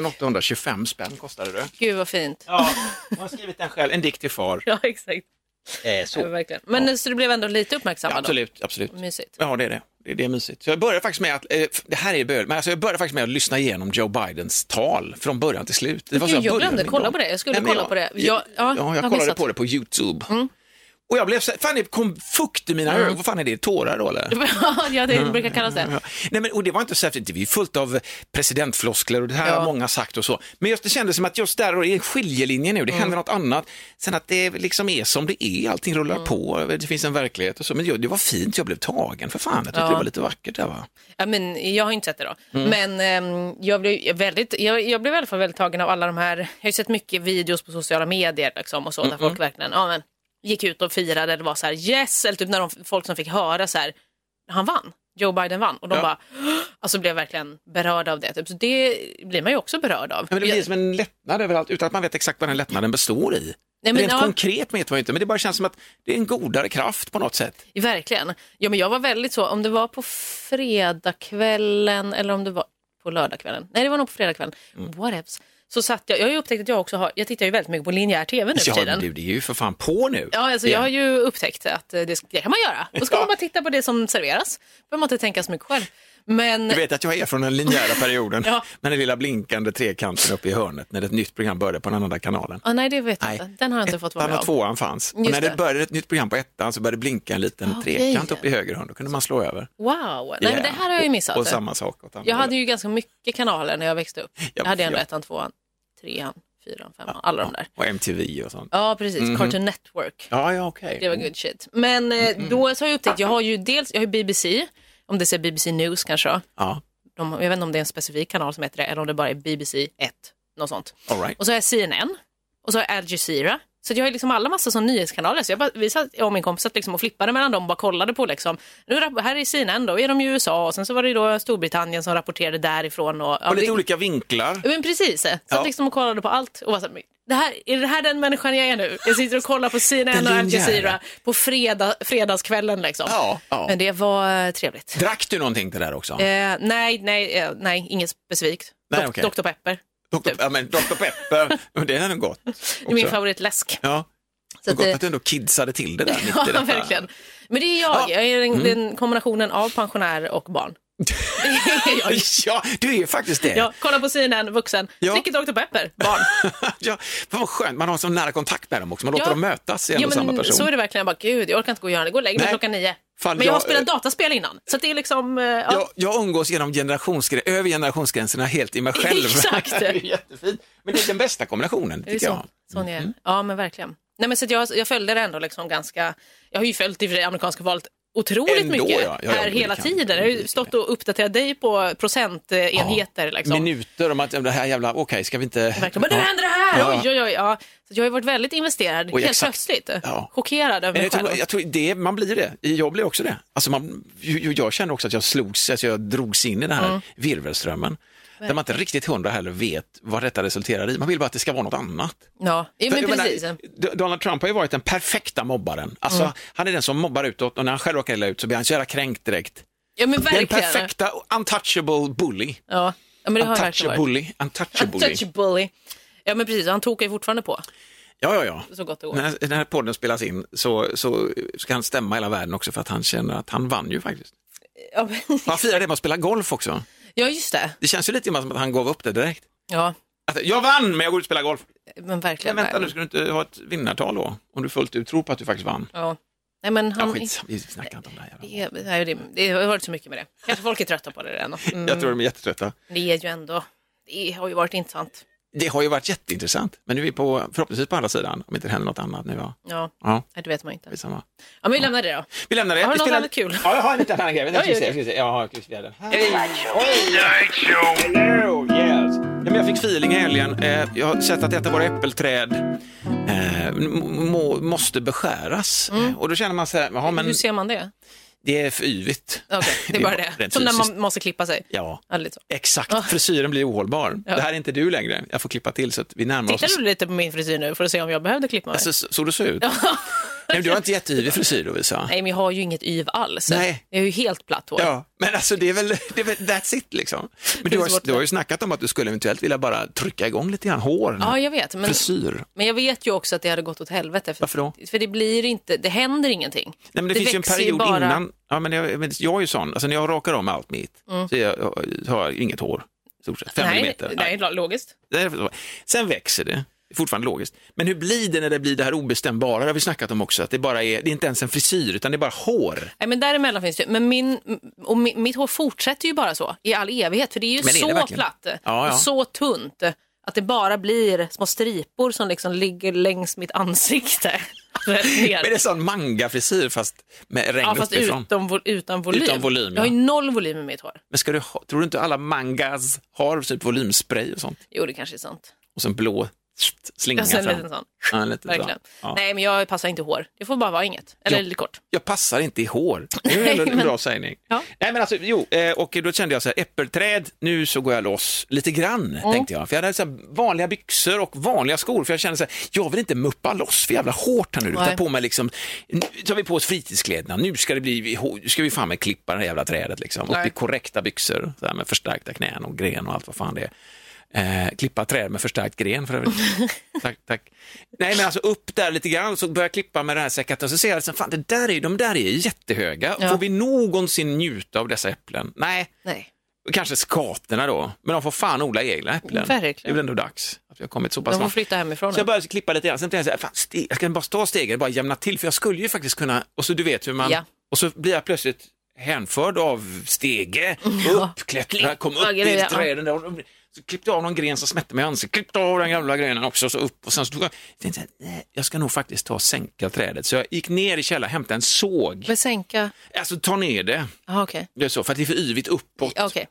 S5: 1825 spänn kostade det.
S6: Gud vad fint.
S5: Ja, hon har skrivit den själv, en dikt till far.
S6: Ja, exakt.
S5: Eh,
S6: Ja, verkligen. Men så du blev ändå lite uppmärksammad
S5: absolut, absolut.
S6: då? Mysigt.
S5: Ja, det är det. det. är- Det är mysigt. Så jag började faktiskt med att, eh, f- det här är böl, men alltså jag började faktiskt med att lyssna igenom Joe Bidens tal från början till slut. Det var så
S6: Gud, jag
S5: började
S6: glömde
S5: min
S6: kolla
S5: gång.
S6: på det. Jag skulle
S5: men
S6: kolla på det. Jag-
S5: Jag,
S6: ja,
S5: ja,
S6: jag har
S5: jag kollade
S6: missat. Mm.
S5: på det på YouTube. Och jag blev så här, fan det kom fukt i mina ögon, vad fan är det, tårar då eller?
S6: ja,
S5: Mm.
S6: det brukar kallas det.
S5: Ja. Nej, men, och det var inte särskilt, vi är fullt av presidentfloskler och det här
S6: Ja.
S5: har många sagt och så. Men just det kändes som att just där och det är en skiljelinje nu, det
S6: Mm.
S5: händer något annat. Sen att det liksom är som det är, allting rullar
S6: Mm.
S5: på, det finns en verklighet och så. Men det, det var fint, jag blev tagen för fan, jag tyckte det var lite vackert där va?
S6: Ja, men, jag har inte sett det då.
S5: Mm.
S6: Men ehm, jag, blev väldigt, jag, jag blev i alla fall väldigt tagen av alla de här, jag har ju sett mycket videos på sociala medier liksom, och så,
S5: Mm,
S6: där folk verkligen ja, men, gick ut och firade eller var så här yes, eller typ när de, folk som fick höra så här, han vann, Joe Biden vann och de
S5: Ja.
S6: bara, "Åh!" alltså blev verkligen berörda av det. Typ. Så det blir man ju också berörd av.
S5: Men det blir som en lättnad överallt utan att man vet exakt vad den lättnaden består i.
S6: Nej, men
S5: Rent
S6: ja.
S5: konkret vet man ju inte, men det bara känns som att det är en godare kraft på något sätt.
S6: Verkligen. Ja, men jag var väldigt så, om det var på fredagskvällen eller om det var på lördagskvällen. Nej, det var nog på fredagskvällen.
S5: Mm.
S6: Whatevs. Så satt jag, jag har ju upptäckt att jag också har, jag tittar ju väldigt mycket på linjär tv nu för
S5: Ja, men
S6: tiden.
S5: du, det är ju för fan på nu.
S6: Ja, alltså jag har ju upptäckt att eh, det, det kan man göra. Då ska
S5: Ja.
S6: man bara titta på det som serveras. behöver man inte tänka så mycket själv. Men
S5: Du vet att jag är från den linjära perioden
S6: Ja.
S5: med den lilla blinkande trekanten uppe i hörnet när ett nytt program började på den andra kanalen.
S6: ah, nej, det vet jag inte. Den har jag inte fått vara
S5: Ettan
S6: med
S5: och
S6: om.
S5: tvåan fanns. Och
S6: Just
S5: när det.
S6: det. Ah,
S5: började ett nytt program på ettan så började det blinka en liten
S6: Okej.
S5: trekant upp i höger hörn. Då kunde man slå över.
S6: Wow, nej, men det här har jag ju
S5: Och-
S6: missat.
S5: Och, samma sak åt andra
S6: Jag hade
S5: hållet.
S6: ju ganska mycket kanaler när jag växte upp. Jag hade ändå
S5: ja.
S6: ettan, tvåan, trean, fyran, femman, alla de där.
S5: Och MTV och sånt.
S6: Ja, precis.
S5: Mhm.
S6: Cartoon Network.
S5: Ja, ja okej.
S6: Det var good shit. Men eh, då så har jag upptäckt, jag har ju dels jag har ju BBC, om det ser BBC News kanske. då.
S5: Ja,
S6: De, jag vet inte om det är en specifik kanal som heter det eller om det bara är BBC 1, något sånt.
S5: all right.
S6: Och så har jag CNN och så har jag Al Jazeera. Så att jag har ju liksom alla massa som nyhetskanaler. Så jag bara, vi satt, jag och min kompis satt liksom och flippade mellan dem och bara kollade på liksom. Nu rapp- här är CNN då, är de i USA och sen så var det ju då Storbritannien som rapporterade därifrån. Och, ja,
S5: Och lite
S6: vi-
S5: olika vinklar.
S6: Ja, Men precis, så
S5: Ja.
S6: ja. liksom och kollade på allt och var så här, "Men det här, är det här den människan jag är nu? Jag sitter och kollar på CNN och
S5: Den
S6: Al Jazeera
S5: linjära.
S6: på fredag, fredagskvällen liksom.
S5: Ja, ja.
S6: Men det var eh, trevligt.
S5: Drack du någonting till det där också?
S6: Eh, nej, nej, eh, nej, inget specifikt.
S5: Nej,
S6: Dok-
S5: okej.
S6: Dr Pepper,
S5: Dr.
S6: typ.
S5: Ja, men Dr. Pepper, Men det är nog gott.
S6: det är min
S5: också.
S6: favoritläsk.
S5: Ja,
S6: Så
S5: så
S6: att
S5: gott
S6: det-
S5: att du ändå kidsade till det där. mitt i
S6: Ja,
S5: detta.
S6: verkligen. Men det är jag,
S5: Ja. Mm.
S6: jag är den, den kombinationen av pensionär och barn. Det är jag.
S5: Ja, du är faktiskt det.
S6: Ja, kolla på CNN, vuxen,
S5: Ja.
S6: dricker Dr Pepper, barn.
S5: ja, fan vad skönt, man har så nära kontakt med dem också, man låter
S6: Ja.
S5: dem mötas i en
S6: Ja,
S5: och samma
S6: men
S5: person.
S6: så är det verkligen. Jag bara, gud, jag orkar inte gå och göra det. Gå och lägg mig
S5: Nej.
S6: klockan nio.
S5: Fan,
S6: men jag har
S5: jag-
S6: spelat dataspel innan. Så att det är liksom... eh, Ja.
S5: jag, jag umgås genom generationsgrä- över generationsgränserna helt i mig själv.
S6: Exakt.
S5: det är jättefint. Men det är den bästa kombinationen,
S6: det är
S5: tycker
S6: så.
S5: jag. Mm.
S6: Sån är jag. Ja, men verkligen. Nej, men så att jag, jag följde det ändå liksom ganska... Jag har ju följt i och för sig amerikanska valet otroligt
S5: Ändå,
S6: mycket
S5: ja. Ja, ja,
S6: här
S5: men det
S6: hela
S5: kan-
S6: tiden. Jag har ju stått och uppdaterat dig på procentenheter. liksom.
S5: Minuter om att det här jävla, okej, ska vi inte...
S6: Verkligen. Men nu händer det
S5: Ja.
S6: här! Oj, oj, oj. Ja. Så att jag har ju varit väldigt investerad,
S5: Oj,
S6: helt
S5: exakt.
S6: plötsligt.
S5: Ja.
S6: Chockerad
S5: Men
S6: över mig
S5: jag tror,
S6: själv.
S5: jag tror det, man blir det. Jag blir också det. Alltså man, ju- ju- jag känner också att jag slogs, alltså jag drogs in i den här virvelströmmen. Där man inte riktigt hundra heller vet vad detta resulterar i. Man vill bara att det ska vara något annat.
S6: Ja, ja men
S5: För jag
S6: precis. Mm.
S5: menar, D- Donald Trump har ju varit den perfekta mobbaren. Alltså, Han är den som mobbar utåt och när han själv råkar illa ut så blir han så jävla kränkt direkt.
S6: Ja, men
S5: Den
S6: verkligen.
S5: perfekta untouchable bully.
S6: Ja. ja, men det har jag verkligen
S5: Untouchable
S6: varit.
S5: bully. Untouchable bully.
S6: Untouchable. Ja, men precis. Han tokar ju fortfarande på.
S5: Ja, ja, ja.
S6: Så gott det går.
S5: När den här podden spelas in så, så ska han stämma hela världen också för att han känner att han vann ju faktiskt.
S6: Ja, men-
S5: Han firar det med att spela golf också.
S6: Ja, just det.
S5: Det känns ju lite grann som att han gav upp det direkt.
S6: Ja,
S5: Att, jag vann, men jag går ut och spelar golf.
S6: men
S5: Men
S6: verkligen.
S5: vänta nu, ska du inte ha ett vinnartal då? Om du fullt ut tror på att du faktiskt vann.
S6: Ja. Nej, men han...
S5: Ja, skit, vi snackar inte om det här. jävla.
S6: Det, nej, det, det har varit så mycket med det. Kanske folk är trötta på det redan. Mm,
S5: Jag tror de är jättetrötta.
S6: Det är ju ändå, det har ju varit intressant.
S5: Det har ju varit jätteintressant, men nu är vi på, förhoppningsvis på andra sidan, om inte det händer något annat nu. Ja,
S6: Ja,
S5: ja
S6: nej, det vet man ju inte.
S5: skitsamma.
S6: Ja, men vi lämnar det då.
S5: Vi lämnar det.
S6: Har du
S5: Vi
S6: något
S5: spelar-
S6: annat kul?
S5: Ja, jag har en liten annan grej. Vänta, ska vi
S6: Ja, gud.
S5: se, ska vi se. Jag har- ska vi se den. Här.
S4: Night Show!
S5: Hello, yes. Ja, men jag fick feeling i helgen. Eh, jag har sett att detta våra äppelträd eh, m- må, måste beskäras. Eh, Och då känner man så här, jaha, men
S6: Hur Mm. ser man det?
S5: det är för yvigt.
S6: Okej, det är bara det.
S5: rent
S6: Som när
S5: fysiskt.
S6: man måste klippa sig.
S5: Ja, Eh,
S6: Ja, lite så.
S5: exakt. Frisyren blir ohållbar.
S6: Ja.
S5: Det här är inte du längre. Jag får klippa till så att vi närmar
S6: Tittar
S5: oss.
S6: du lite på min frisyr nu för att se om jag behövde klippa mig?
S5: Alltså, så, så du ser ut. Nej, men du har inte jätteyvig frisyr Lovisa.
S6: Nej, men jag har ju inget yv alls.
S5: Nej.
S6: Jag är ju helt platt hår.
S5: Ja, men alltså det är väl, det är väl that's it liksom. Men du
S6: är
S5: har,
S6: svårt
S5: du har ju snackat om att du skulle eventuellt vilja bara trycka igång lite grann hår.
S6: Ja, jag vet. Men,
S5: Frisyr.
S6: men jag vet ju också att det hade gått åt helvete. För,
S5: Varför då?
S6: För det blir inte, det händer ingenting.
S5: Nej, men det, finns ju en
S6: växer
S5: period
S6: bara-
S5: innan. Ja, men jag, men jag är ju sån, alltså när jag rakar om allt mitt så jag, jag, har jag inget hår. i Stort sett, fem
S6: Mm. Nej,
S5: millimeter.
S6: nej, logiskt.
S5: Det är så. Sen växer det, Det är fortfarande logiskt. Men hur blir det när det blir det här obestämbara? Det har vi snackat om också, att det bara är, det är inte ens en frisyr utan det är bara hår.
S6: Nej, men däremellan finns det men min, och mi- mitt hår fortsätter ju bara så i all evighet för det är ju
S5: Men är det
S6: så
S5: verkligen?
S6: platt
S5: ja.
S6: och så tunt att det bara blir små stripor som liksom ligger längs mitt ansikte. Rätt
S5: Men
S6: ner.
S5: det är sån manga-frisyr fast med regn
S6: ja, fast
S5: uppifrån.
S6: utom, vo- utan volym.
S5: Utan volym,
S6: Jag har
S5: ja.
S6: ju noll volym i mitt hår.
S5: Men ska du ha, tror du inte alla mangas har typ volymspray och sånt?
S6: Jo, det kanske är sant.
S5: Och sen blå slinga
S6: Jag ser en
S5: fram.
S6: liten sån.
S5: Ja, lite så.
S6: Verkligen.
S5: Ja.
S6: Nej, men jag passar inte i hår. Det får bara vara inget. Eller
S5: Ja.
S6: lite kort.
S5: jag passar inte i hår. Det är ju ändå en bra sägning.
S6: Ja.
S5: Nej, men alltså, jo, eh, och då kände jag så här, äppelträd, nu så går jag loss lite grann,
S6: Mm.
S5: tänkte jag. För jag hade så här, vanliga byxor och vanliga skor, för jag kände så här, jag vill inte muppa loss för jävla hårt här nu. Ta
S6: Nej.
S5: på mig liksom, nu tar vi på oss fritidskläderna, nu ska, det bli, vi- nu ska vi fan med klippa det här jävla trädet liksom. Upp
S6: Nej.
S5: i korrekta byxor, så här, med förstärkta knän och gren och allt vad fan det är. Eh, klippa träd med förstärkt gren för övrigt. tack, tack. Nej, men alltså upp där lite grann så börjar jag klippa med den här säcket och så ser jag liksom, fan, det där är, de där är jättehöga.
S6: Ja.
S5: Får vi någonsin njuta av dessa äpplen? Nej,
S6: Nej.
S5: kanske skaterna då, men de får fan odla egna äpplen.
S6: Verkligen.
S5: Det är väl ändå dags att vi har kommit så pass
S6: De får
S5: långt.
S6: flytta hemifrån.
S5: Så jag började klippa lite grann, sen tänkte jag så här, fan, ste- jag ska bara ta stegen, bara jämna till, för jag skulle ju faktiskt kunna, och så du vet hur man,
S6: Ja.
S5: och så blir jag plötsligt hänförd av stege, upp, klättra, kom upp
S6: Klippa
S5: i
S6: grejer, ja.
S5: träden där, och så klippte jag av någon gren som smätte mig i ansiktet, klippte av den gamla grenen också, och så upp, och sen så tog jag, jag tänkte så här, nej, jag ska nog faktiskt ta och sänka trädet, så jag gick ner i källaren, hämtade en såg,
S6: Men sänka...
S5: alltså ta ner det,
S6: Jaha, okej.
S5: det är så, för att det är för yvigt uppåt.
S6: Ja, okej.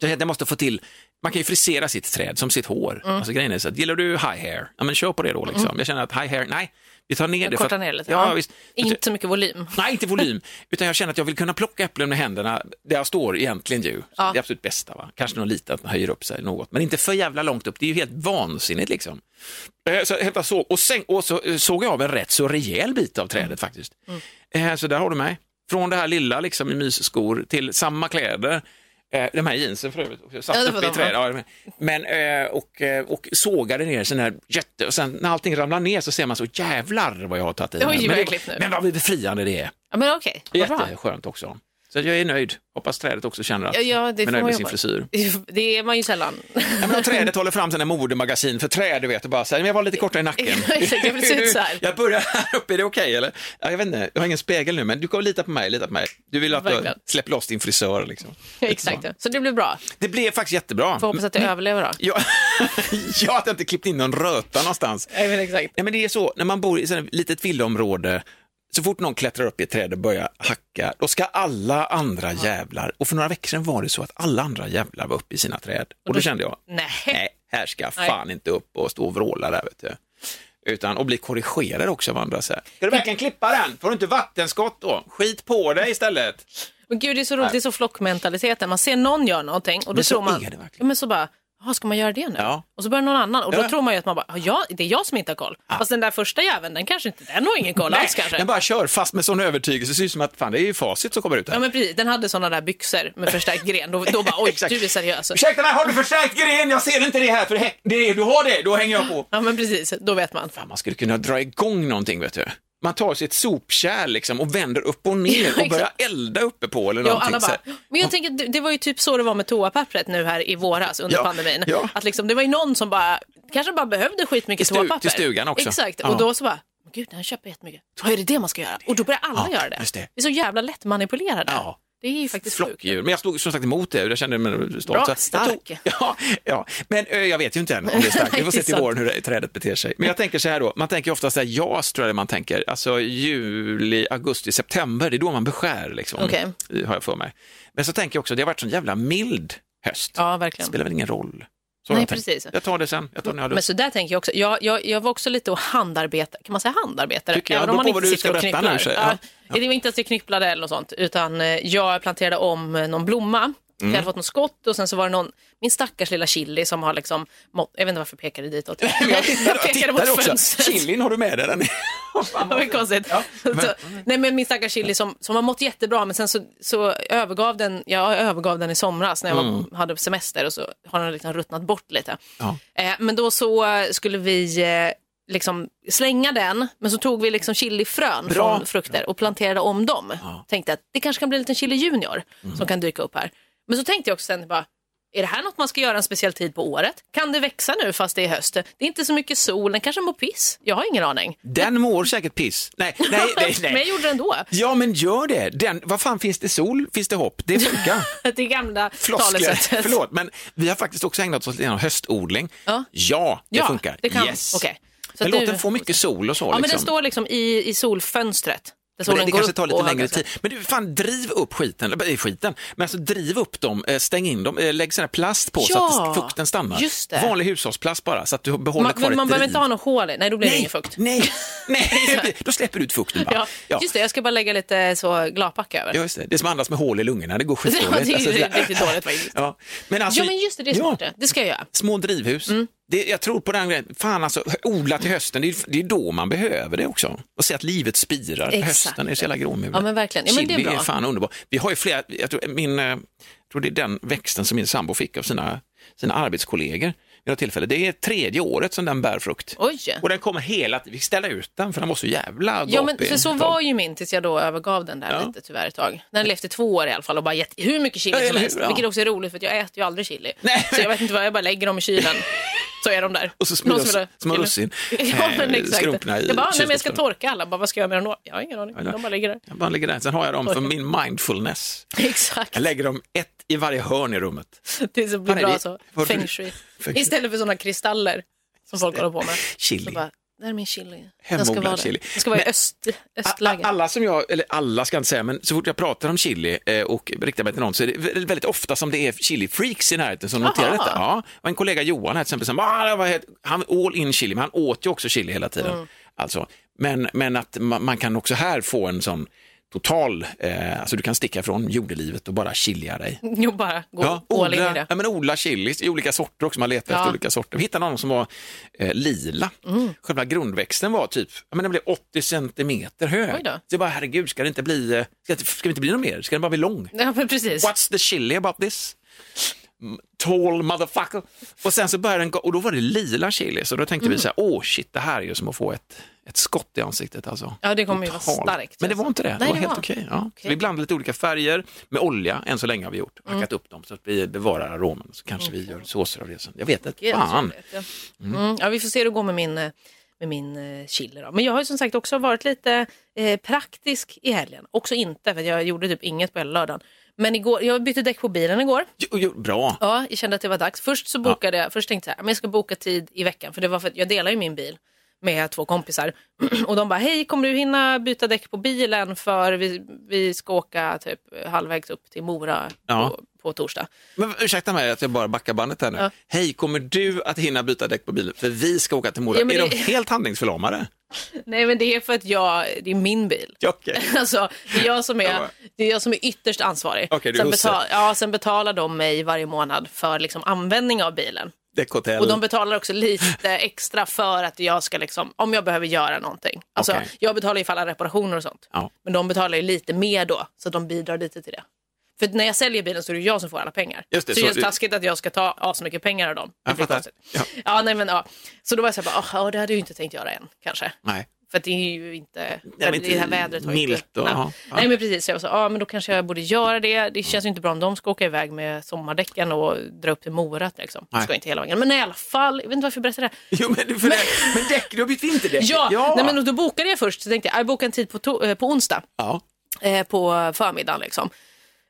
S5: Så jag måste få till, man kan ju frisera sitt träd som sitt hår.
S6: Mm.
S5: Alltså grejen är så att, gillar du high hair, ja men kör på det då liksom. Jag känner att high hair, nej, vi tar ner det. för
S6: Korta
S5: att-
S6: Mm. ner lite.
S5: Ja,
S6: Ja.
S5: visst.
S6: Inte så mycket volym.
S5: Nej, inte volym, utan jag känner att jag vill kunna plocka äpplen med händerna där jag står egentligen ju.
S6: Ja.
S5: Det är absolut bästa, va? kanske någon liten att man höjer upp sig något, men inte för jävla långt upp, det är ju helt vansinnigt liksom. Eh, Så jag hämtade såg, och, sen, och så eh, såg jag av en rätt så rejäl bit av
S6: Mm.
S5: trädet faktiskt. Eh, Så där har du mig. Från det här lilla liksom, i mysskor till samma kläder, Eh, de här jeansen för övrigt, också, satt
S6: Ja, det var
S5: uppe i
S6: de,
S5: trädet. Ja, men, eh, och, eh, och sågade ner sån här jätte, och sen när allting ramlar ner så ser man så jävlar vad jag har tagit i.
S6: Det var
S5: mig."
S6: ju
S5: men,
S6: klipp nu.
S5: men vad befriande det är.
S6: Ja, men okej. Vad bra.
S5: Jätteskönt också. Så jag är nöjd. Hoppas trädet också känner att
S6: Ja, ja, det
S5: man är
S6: får
S5: nöjd
S6: man
S5: med
S6: ju
S5: sin
S6: hoppas.
S5: frisyr.
S6: Det är man ju sällan.
S5: Ja, men om trädet håller fram sina modemagasin för träd, du vet, och bara säger men jag var lite kortare i nacken.
S6: Exakt, jag vill se ut så här.
S5: Jag börjar här uppe, är det okej eller? Ja, jag vet inte, jag har ingen spegel nu, men du kan lita på mig, lita på mig. Du vill att jag
S6: Verkligen.
S5: släpper loss din frisör liksom.
S6: Exakt. ja. Så det blir bra.
S5: Det blev faktiskt jättebra.
S6: Får hoppas att jag överlever då.
S5: Ja, ja, att jag inte klippt in någon röta någonstans.
S6: Ja, men exakt.
S5: Nej, men det är så, när man bor i ett litet villaområde, så fort någon klättrar upp i ett träd och börjar hacka, då ska alla andra jävlar, och för några veckor sedan var det så att alla andra jävlar var uppe i sina träd. Och då kände jag,
S6: Nej.
S5: nej, här ska jag fan inte upp och stå och vråla där, vet du. Utan och bli korrigerad också av andra. Så här. Ska du verkligen klippa den? Får du inte vattenskott då? Skit på dig istället.
S6: Men gud, det är så roligt. Det är så flockmentaliteten. Man ser någon göra någonting och då
S5: Men så
S6: tror man...
S5: är det verkligen.
S6: Ja, men så bara, jaha, ska man göra det nu?
S5: Ja.
S6: Och så börjar någon annan och då
S5: Ja.
S6: tror man ju att man bara, "Ja, jag, det är jag som inte har koll. Fast den där första jäveln, den kanske inte, den har ingen koll alls kanske.
S5: Den bara kör fast med sån övertygelse, det ser ut som att fan, det är ju facit som kommer ut här.
S6: Ja men precis, den hade sådana där byxor med förstärkt gren. Då, då bara, oj,
S5: Exakt.
S6: du är seriös.
S5: Ursäkta mig, har du förstärkt gren? Jag ser inte det här, för hä- det är, du har det, då hänger jag på.
S6: Ja men precis, då vet man.
S5: Fan, man skulle kunna dra igång någonting, vet du. man tar sitt sopkärl liksom och vänder upp och ner och
S6: exakt.
S5: börjar elda uppe på eller
S6: Ja, och
S5: någonting.
S6: alla
S5: så
S6: bara,
S5: här.
S6: men jag tänker, att det- det var ju typ så det var med toapappret nu här i våras under
S5: Ja,
S6: pandemin.
S5: ja.
S6: Att liksom, det var ju någon som bara, kanske bara behövde skitmycket
S5: Till stu-
S6: toapapper.
S5: till stugan också.
S6: Exakt,
S5: Ja.
S6: och då så bara, men gud den köper jättemycket. Då är det det man ska göra. Och då börjar alla
S5: Ja,
S6: göra det.
S5: just det.
S6: Vi är så jävla lättmanipulerade.
S5: Ja.
S6: Det är ju faktiskt sjukt.
S5: Flockdjur. Men jag slog som sagt emot det, jag kände mig stolt.
S6: Bra,
S5: Så-
S6: stark.
S5: Ja, ja, men ö, jag vet ju inte än om det är starkt. Vi får
S6: Nej,
S5: se
S6: det är
S5: till
S6: sant.
S5: våren hur det- trädet beter sig. Men jag tänker så här då, man tänker ofta så här, jas tror jag det man tänker, alltså juli, augusti, september, det är då man beskär liksom,
S6: Okej.
S5: har jag för mig. Men så tänker jag också, det har varit sån jävla mild höst.
S6: Ja,
S5: Det
S6: verkligen.
S5: spelar väl ingen roll. Så har
S6: Nej,
S5: jag tänkt.
S6: precis.
S5: Jag tar det sen, jag tar när jag har
S6: Men
S5: lust.
S6: så där tänker jag också. Jag, jag, jag var också lite och handarbetare, kan man säga handarbetare?
S5: Tycker jag.
S6: Även om
S5: Beror
S6: man
S5: på vad
S6: inte
S5: du ska
S6: sitter och
S5: berätta
S6: knypplar.
S5: nu, så-
S6: Ja.
S5: ja.
S6: Det var inte att jag knypplade eller något sånt, utan eh, jag planterade om eh, någon blomma. Jag
S5: Mm.
S6: hade fått något skott och sen så var det någon, min stackars lilla chili som har liksom, må- jag vet inte varför jag pekade ditåt.
S5: Jag tittar, jag
S6: pekade
S5: tittar
S6: mot
S5: också.
S6: fönstret.
S5: Chilin har du med dig den?
S6: Det var konstigt. Så, nej men min stackars chili som, som har mått jättebra men sen så, så övergav den, jag övergav den i somras när jag var, hade semester och så har den liksom ruttnat bort lite.
S5: Ja.
S6: Eh, men då så eh, skulle vi eh, liksom slänga den men så tog vi liksom chilifrön från frukter och planterade om dem. Tänkte att det kanske kan bli en liten chili junior som kan dyka upp här. Men så tänkte jag också sen bara är det här något man ska göra en speciell tid på året? Kan det växa nu fast det är höst? Det är inte så mycket sol, den kanske mår piss. Jag har ingen aning.
S5: Den mår säkert piss. Nej, nej, nej.
S6: Men jag
S5: nej.
S6: gjorde det ändå.
S5: Ja, men gör det. Den, vad fan, finns det sol, finns det hopp. Det funkar.
S6: Det gamla
S5: Floskler.
S6: talesättet.
S5: Förlåt, men vi har faktiskt också ägnat oss åt höstodling.
S6: Ja.
S5: det
S6: ja,
S5: funkar.
S6: Det kan.
S5: Yes.
S6: Okej. Så
S5: Men
S6: att
S5: låt den få mycket sol och så.
S6: Ja, men
S5: liksom.
S6: den står liksom i, i solfönstret. Där
S5: Men
S6: solen
S5: det, det
S6: går
S5: kanske
S6: upp
S5: tar lite
S6: och
S5: längre
S6: högre.
S5: tid. Men du, fan driv upp skiten, eller eh, skiten, men alltså driv upp dem, eh, stäng in dem, eh, lägg sån här plast på så
S6: Ja,
S5: att fukten stannar.
S6: just det.
S5: Vanlig hushållsplast bara, så att du behåller
S6: Man,
S5: kvar
S6: men
S5: ett
S6: man behöver
S5: driv.
S6: inte ha någon hål i. Nej, då blir det
S5: nej,
S6: ingen fukt.
S5: nej, nej, då släpper du ut fukten bara.
S6: Ja, Just det, jag ska bara lägga lite så glapacka över.
S5: Ja, just det. det som andas med hål i lungorna, det går skitdåligt.
S6: Ja, det är ju
S5: sådär.
S6: riktigt dåligt faktiskt.
S5: Ja. Men alltså,
S6: ja, men just det, det är Mm.
S5: ja,
S6: smart det. Det ska jag göra.
S5: Små drivhus. Det, jag tror på den grejen. Fan alltså, hö- odla till hösten, det är, det är då man behöver det också. Och se att livet spirar.
S6: Exakt.
S5: Hösten är så jävla gråmulen.
S6: Ja, men verkligen. Ja, men det är
S5: Chili
S6: bra.
S5: fan underbar. Vi har ju flera, jag tror, min, eh, jag tror det är den växten som min sambo fick av sina, sina arbetskollegor vid något tillfälle. Det är tredje året som den bär frukt.
S6: Oj.
S5: Och den kommer hela tiden, vi ställer ut den för den var så jävla
S6: Ja, men
S5: gapig.
S6: för så var ju min tills jag då övergav den där
S5: Ja.
S6: lite tyvärr ett tag. Den levde i två år i alla fall och bara gett hur mycket chili
S5: Ja,
S6: som
S5: eller
S6: helst.
S5: hur? Ja.
S6: Vilket också är roligt för att jag äter ju aldrig chili.
S5: Nej,
S6: Så
S5: men-
S6: jag vet inte vad, jag bara lägger dem i kylen. Så är de där.
S5: Och så små-
S6: Någon vill ha
S5: små
S6: chili.
S5: russin.
S6: Ja, men
S5: Eh,
S6: exakt.
S5: skrumporna i
S6: jag bara, "Ah, nej, men jag ska
S5: kylskåpsdörren.
S6: torka alla. Bara, vad ska jag med dem då? Jag har ingen aning.
S5: Eller-
S6: De bara ligger där.
S5: Jag bara lägger den, sen har jag dem för min mindfulness.
S6: Exakt.
S5: Jag lägger dem ett i varje hörn i rummet.
S6: Det är så blir
S5: Fan, är
S6: bra
S5: det-
S6: så.
S5: vad-
S6: Feng shui.
S5: Feng shui.
S6: Istället för sådana kristaller som folk håller på med. Så
S5: Chili.
S6: bara, där är min chili. Den ska
S5: Hemodlad
S6: vara
S5: chili.
S6: där. Den ska vara i
S5: Men-
S6: öst,
S5: A-
S6: östlager.
S5: Alla som jag, eller alla ska jag inte säga, men så fort jag pratar om chili eh, och riktar mig till någon så är det vä- väldigt ofta som det är chili-freaks i närheten som noterar
S6: Aha.
S5: detta. Ja, och en kollega Johan här till exempel, som, ah, det var helt, han all in chili, men han åt ju också chili hela tiden.
S6: Mm.
S5: Alltså, men, men att man, man kan också här få en sån total, eh, alltså du kan sticka från jordelivet och bara chilia dig.
S6: Jo, bara gå all in i
S5: odla,
S6: det.
S5: ja, men odla chili i olika sorter också. Man letar
S6: Ja. Mm.
S5: efter olika sorter. Vi hittade någon som var eh, lila. Själva grundväxten var typ ja, men den blev 80 centimeter
S6: Oj
S5: hög.
S6: då.
S5: Så jag bara, herregud, ska det inte bli, eh, ska det, ska det inte bli något mer? Ska den bara bli lång?
S6: Ja, men precis.
S5: What's the chili about this? Mm, Tall motherfucker. Och sen så började den gå, och då var det lila chili, så då
S6: Mm.
S5: tänkte vi så här, åh shit, det här är ju som att få ett, ett skott i ansiktet alltså.
S6: Ja, det kommer ju vara
S5: Totalt.
S6: starkt. alltså.
S5: Men det var inte det, det
S6: Nej,
S5: var helt okej. Ja. Så Vi blandade lite olika färger med olja, än så länge har vi gjort.
S6: Mm.
S5: Hackat upp dem så att vi bevarar aromen, så kanske vi gör såser av det sen. Jag vet inte,
S6: Gud,
S5: fan.
S6: så vet jag. Mm. Ja, vi får se hur det går med min, eh, med min eh, chili. Då. Men jag har ju som sagt också varit lite eh, praktisk i helgen. Också inte, för jag gjorde typ inget på hela lördagen. Men igår, jag bytte däck på bilen igår.
S5: Jo, jo, bra.
S6: Ja, jag kände att det var dags. Först så bokade jag, först tänkte jag så här, men jag ska boka tid i veckan. För det var för att jag delar ju min bil med två kompisar. Och de bara, hej kommer du hinna byta däck på bilen för vi, vi ska åka typ halvvägs upp till Mora
S5: Ja.
S6: på, på torsdag.
S5: Men ursäkta mig att jag bara backar bandet här nu.
S6: Ja.
S5: Hej, kommer du att hinna byta däck på bilen? För vi ska åka till Mora.
S6: Ja, men
S5: är
S6: det-
S5: de helt handlingsförlamade?
S6: Nej men det är för att jag, det är min bil.
S5: Ja, okej.
S6: Alltså, det, är jag som
S5: Jag
S6: är,
S5: bara-
S6: det är jag som är ytterst ansvarig.
S5: Okej, du är
S6: sen,
S5: husse.
S6: ja, sen betalar de mig varje månad för liksom användning av bilen.
S5: Däckhotell?
S6: Och de betalar också lite extra för att jag ska, liksom, om jag behöver göra någonting. Alltså,
S5: Okej.
S6: Jag betalar ju för alla reparationer och sånt.
S5: Ja.
S6: Men de betalar ju lite mer då, så de bidrar lite till det. För när jag säljer bilen så är det jag som får alla pengar.
S5: Just det,
S6: så det
S5: så
S6: är just
S5: du-
S6: taskigt att jag ska ta så mycket pengar av dem. Det
S5: Jag
S6: blir
S5: fattar.
S6: konstigt.
S5: Ja.
S6: Ja, nej, men, ja. Så då var jag så här, bara, "Ah, ja, det hade jag ju inte tänkt göra än kanske.
S5: Nej.
S6: För att det är ju inte,
S7: men
S6: det,
S7: inte
S6: här vädret har ju
S7: milt
S6: inte...
S7: och-
S6: nej.
S7: ja, ja.
S6: nej men precis, så jag sa, ja men då kanske jag borde göra det. Det känns ju inte bra om de ska åka iväg med sommardäcken och dra upp till Mora liksom.
S7: Nej.
S6: Ska inte hela vägen, men i alla fall, jag vet inte varför jag berättar det. här.
S7: Jo, men, du- för det, men däck, du har bytt vinterdäck.
S6: Ja, Nej, men då bokade jag först, så tänkte jag, jag bokar en tid på, to- eh, på onsdag
S7: ja.
S6: eh, på förmiddagen. Liksom.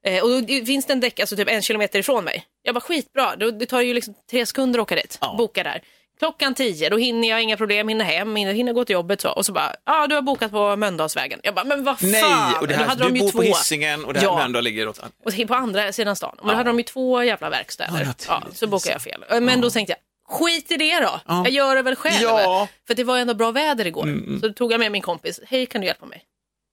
S6: Eh, och då finns det en däck alltså typ en kilometer ifrån mig. Jag bara skitbra, då, det tar ju liksom tre sekunder att åka dit,
S7: Ja.
S6: boka där. Klockan tio, då hinner jag, inga problem, hinner hem, hinner, hinner gå till jobbet så. Och så bara, ja ah, du har bokat på Mölndalsvägen. Jag bara, men vad fan.
S5: Nej, och det
S6: Då
S5: här,
S6: hade
S5: du
S6: de ju
S5: bor
S6: två.
S5: på Hisingen och det här
S6: Ja.
S5: Mölndal ligger åt...
S6: Och he- på andra sidan stan. Men då hade de ju två jävla verkstäder.
S7: naturligtvis.
S6: Ja, så bokade jag fel. Eh, Men då tänkte jag, skit i det då. Jag gör det väl själv.
S7: Ja. Mm,
S6: För det var ändå bra väder igår. Så då tog jag med min kompis, hej kan du hjälpa mig?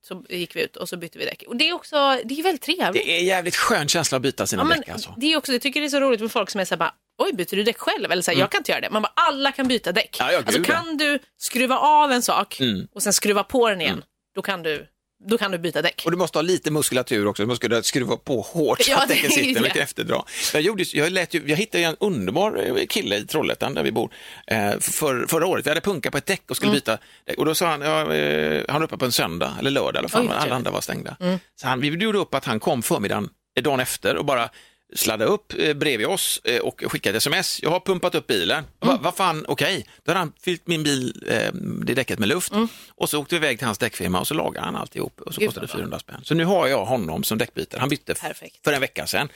S6: Så gick vi ut och så bytte vi däck. Och det är också, det är väldigt trevligt.
S7: Det är en jävligt skön känsla att byta sina
S6: Ja, men
S7: däck alltså.
S6: det är också, jag tycker det är så roligt med folk som är så här bara, oj byter du däck själv? Eller så här, jag kan inte göra det. Man bara, alla kan byta däck.
S7: Mm. Ja, ja, gud,
S6: alltså
S7: ja.
S6: kan du skruva av en sak
S7: Mm.
S6: och sen skruva på den igen, då, kan du, då kan du byta däck.
S5: Och du måste ha lite muskulatur också, du måste kunna skruva på hårt så
S6: Ja,
S5: att
S6: det
S5: däcken
S6: är ju
S5: sitter
S6: det.
S5: med kräftedra. Jag, gjorde, jag, lät ju, jag hittade ju en underbar eh, kille i Trollhättan där vi bor eh, för, förra året. Vi hade punka på ett däck och skulle
S6: Mm.
S5: byta däck. och då sa han, ja, eh, han var uppe på en söndag eller lördag i alla fall,
S6: Oj, Mm.
S5: men alla
S6: trevligt.
S5: andra var stängda. Så han, vi gjorde upp att han kom förmiddagen, eh, dagen efter och bara sladdade upp eh, bredvid oss eh, och skickade sms. Jag har pumpat upp bilen. Jag
S6: Mm.
S5: bara, Vad fan, okej. Då hade han fyllt min bil, eh, det däcket med luft och så åkte vi iväg till hans däckfirma och så lagade han alltihop och så
S6: Mm. Gud,
S5: kostade det
S6: vad bra.
S5: 400 spänn. Så nu har jag honom som däckbytare. Han bytte f-
S6: Perfekt.
S5: för en vecka sedan.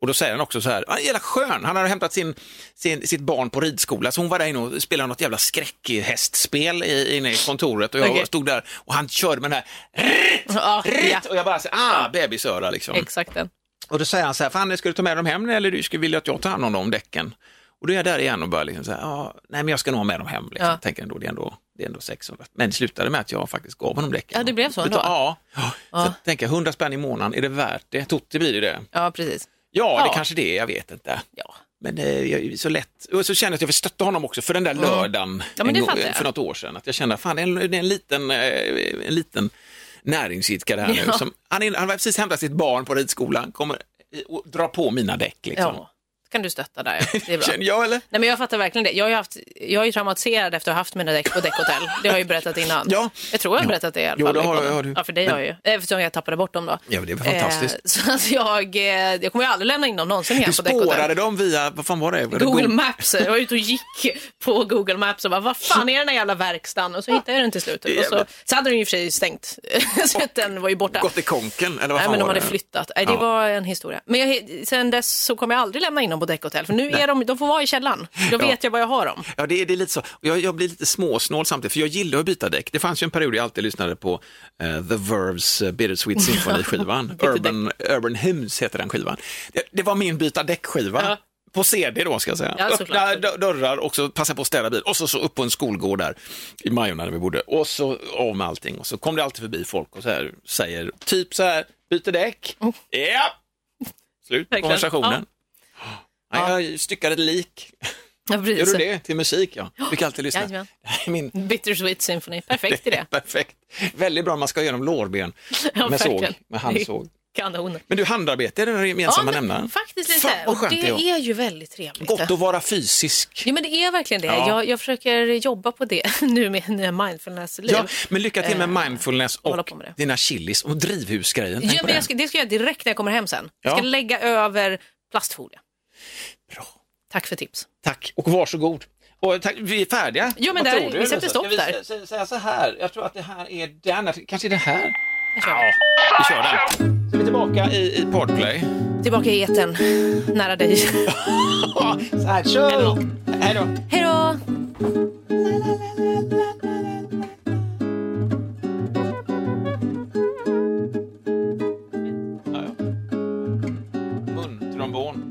S5: Och då säger han också så här, han är jävla skön. Han har hämtat sin, sin, sitt barn på ridskola, så hon var där inne och spelade något jävla skräckhästspel i, inne i kontoret och jag
S6: Okej.
S5: stod där och han körde med den här
S6: Ja, ja,
S5: och jag bara, så, ah, bebisöra liksom.
S6: exakt den.
S5: Och då säger han så här, Fanny ska du ta med dem hem eller du skulle vilja att jag tar hand om dem, däcken? Och då är jag där igen och börjar liksom så här, ah, nej men jag ska nog ha med dem hem, liksom.
S6: Ja.
S5: tänker ändå, det är ändå, det är ändå 600. Men det slutade med att jag faktiskt gav honom däcken.
S6: Ja, det blev så
S5: Utan-
S6: ändå.
S5: Ja, ja. så jag tänker 100 spänn i månaden, är det värt det? Totte blir det det.
S6: Ja, precis.
S5: Ja, det
S6: Ja.
S5: kanske det är, jag vet inte.
S6: Ja.
S5: Men eh, jag, så lätt, och så känner jag att jag vill stötta honom också för den där lördagen
S6: Ja, men det
S5: en gång-
S6: fattar jag.
S5: för något år sedan. Att jag kände, fan det är en, det är en liten, eh, en liten näringsidkare här nu.
S6: Ja.
S5: Som, han, är, han har precis hämtat sitt barn på ridskolan, kommer eh, och drar på mina däck liksom.
S6: Ja. kan du stötta där, ja. det är bra.
S5: Känner jag eller?
S6: Nej, men jag fattar verkligen det. Jag är ju, haft, jag är ju traumatiserad efter att ha haft mina däck på däckhotell. Det har jag ju berättat innan.
S5: Ja.
S6: Jag tror jag har berättat det i alla
S5: Jo,
S6: fall.
S5: det
S6: i
S5: har-
S6: podden.
S5: har du.
S6: Ja, för dig har jag ju. Eftersom jag tappade bort dem då.
S5: Ja, men det är fantastiskt.
S6: Eh, så att jag, eh, jag kommer ju aldrig lämna in dem någonsin igen
S5: Du
S6: på däckhotell.
S5: spårade dem via, vad fan var det? Var det
S6: Google
S5: Google-
S6: Maps. Jag var ute och gick på Google Maps och bara, vad fan är den här jävla verkstaden? Och så hittade jag den till slut. Och så, så hade den ju i och för sig stängt, så att den var ju borta.
S5: Gått i konken eller vad
S6: Nej,
S5: fan
S6: men de
S5: var
S6: hade
S5: det?
S6: flyttat. Nej, det
S5: Ja.
S6: var en historia. Men jag, sen dess så kommer jag aldrig lämna in dem på däckhotell, för nu är de, de får vara i källaren. Då
S5: Ja.
S6: vet jag var jag har dem.
S5: Ja, det är, det är lite så. Och Jag, jag blir lite småsnål samtidigt, för jag gillar att byta däck. Det fanns ju en period jag alltid lyssnade på eh, The Verves eh, Bittersweet Symphony-skivan.
S6: Bytte
S5: Urban, Urban Hymns heter den skivan. Det, det var min byta däck-skiva.
S6: Ja.
S5: På CD då ska jag säga.
S6: Ja, såklart.
S5: Öppna d- dörrar och så passa på att städa bil. Och så, så upp på en skolgård där i Majorna där vi bodde. Och så av med allting. Och så kom det alltid förbi folk och så här, säger typ så här, byter däck. Ja! Slut på
S6: Oh. Verkligen.
S5: konversationen.
S6: Ja.
S5: Nej, jag styckade ett lik.
S6: Ja, precis.
S5: Gör du det? Till musik ja. Du brukar alltid lyssna.
S6: Jajamän.
S5: Det här är min
S6: Bittersweet Symphony, perfekt idé.
S5: perfekt. Väldigt bra om man ska göra dem lårben
S6: Ja,
S5: med såg,
S6: verkligen.
S5: med handsåg.
S6: Kanon.
S5: Men du, handarbete är den gemensamma
S6: men
S5: nämnaren.
S6: Faktiskt lite.
S5: Fan, vad
S6: och
S5: skönt
S6: det
S5: det är.
S6: är ju väldigt trevligt.
S5: Gott att vara fysisk.
S6: Jo men det är verkligen det.
S5: Ja.
S6: Jag, jag försöker jobba på det nu med nya mindfulness-liv.
S5: Ja, men lycka till med
S6: Eh,
S5: mindfulness
S6: hålla
S5: och
S6: på med det.
S5: dina chilis och drivhusgrejen. Tänk
S6: Ja,
S5: på
S6: men
S5: den.
S6: jag ska, det ska jag göra direkt när jag kommer hem sen. Jag
S5: Ja.
S6: ska lägga över plastfolie.
S5: Bra.
S6: Tack för tips.
S5: Tack och varsågod. Och tack, vi är färdiga.
S6: Jo, men
S5: Vad
S6: där-
S5: tror du?
S6: vi sätter stopp
S5: Ska vi
S6: där.
S5: sä- sä- säga så här, jag tror att det här är den, kanske det här? Ja, vi kör den. Så vi är tillbaka i, i Podplay.
S6: Tillbaka i etern, nära dig.
S5: Ja, så här, kör! Hej då!
S6: Hej då!
S5: Ja, ja. Mun, trombon.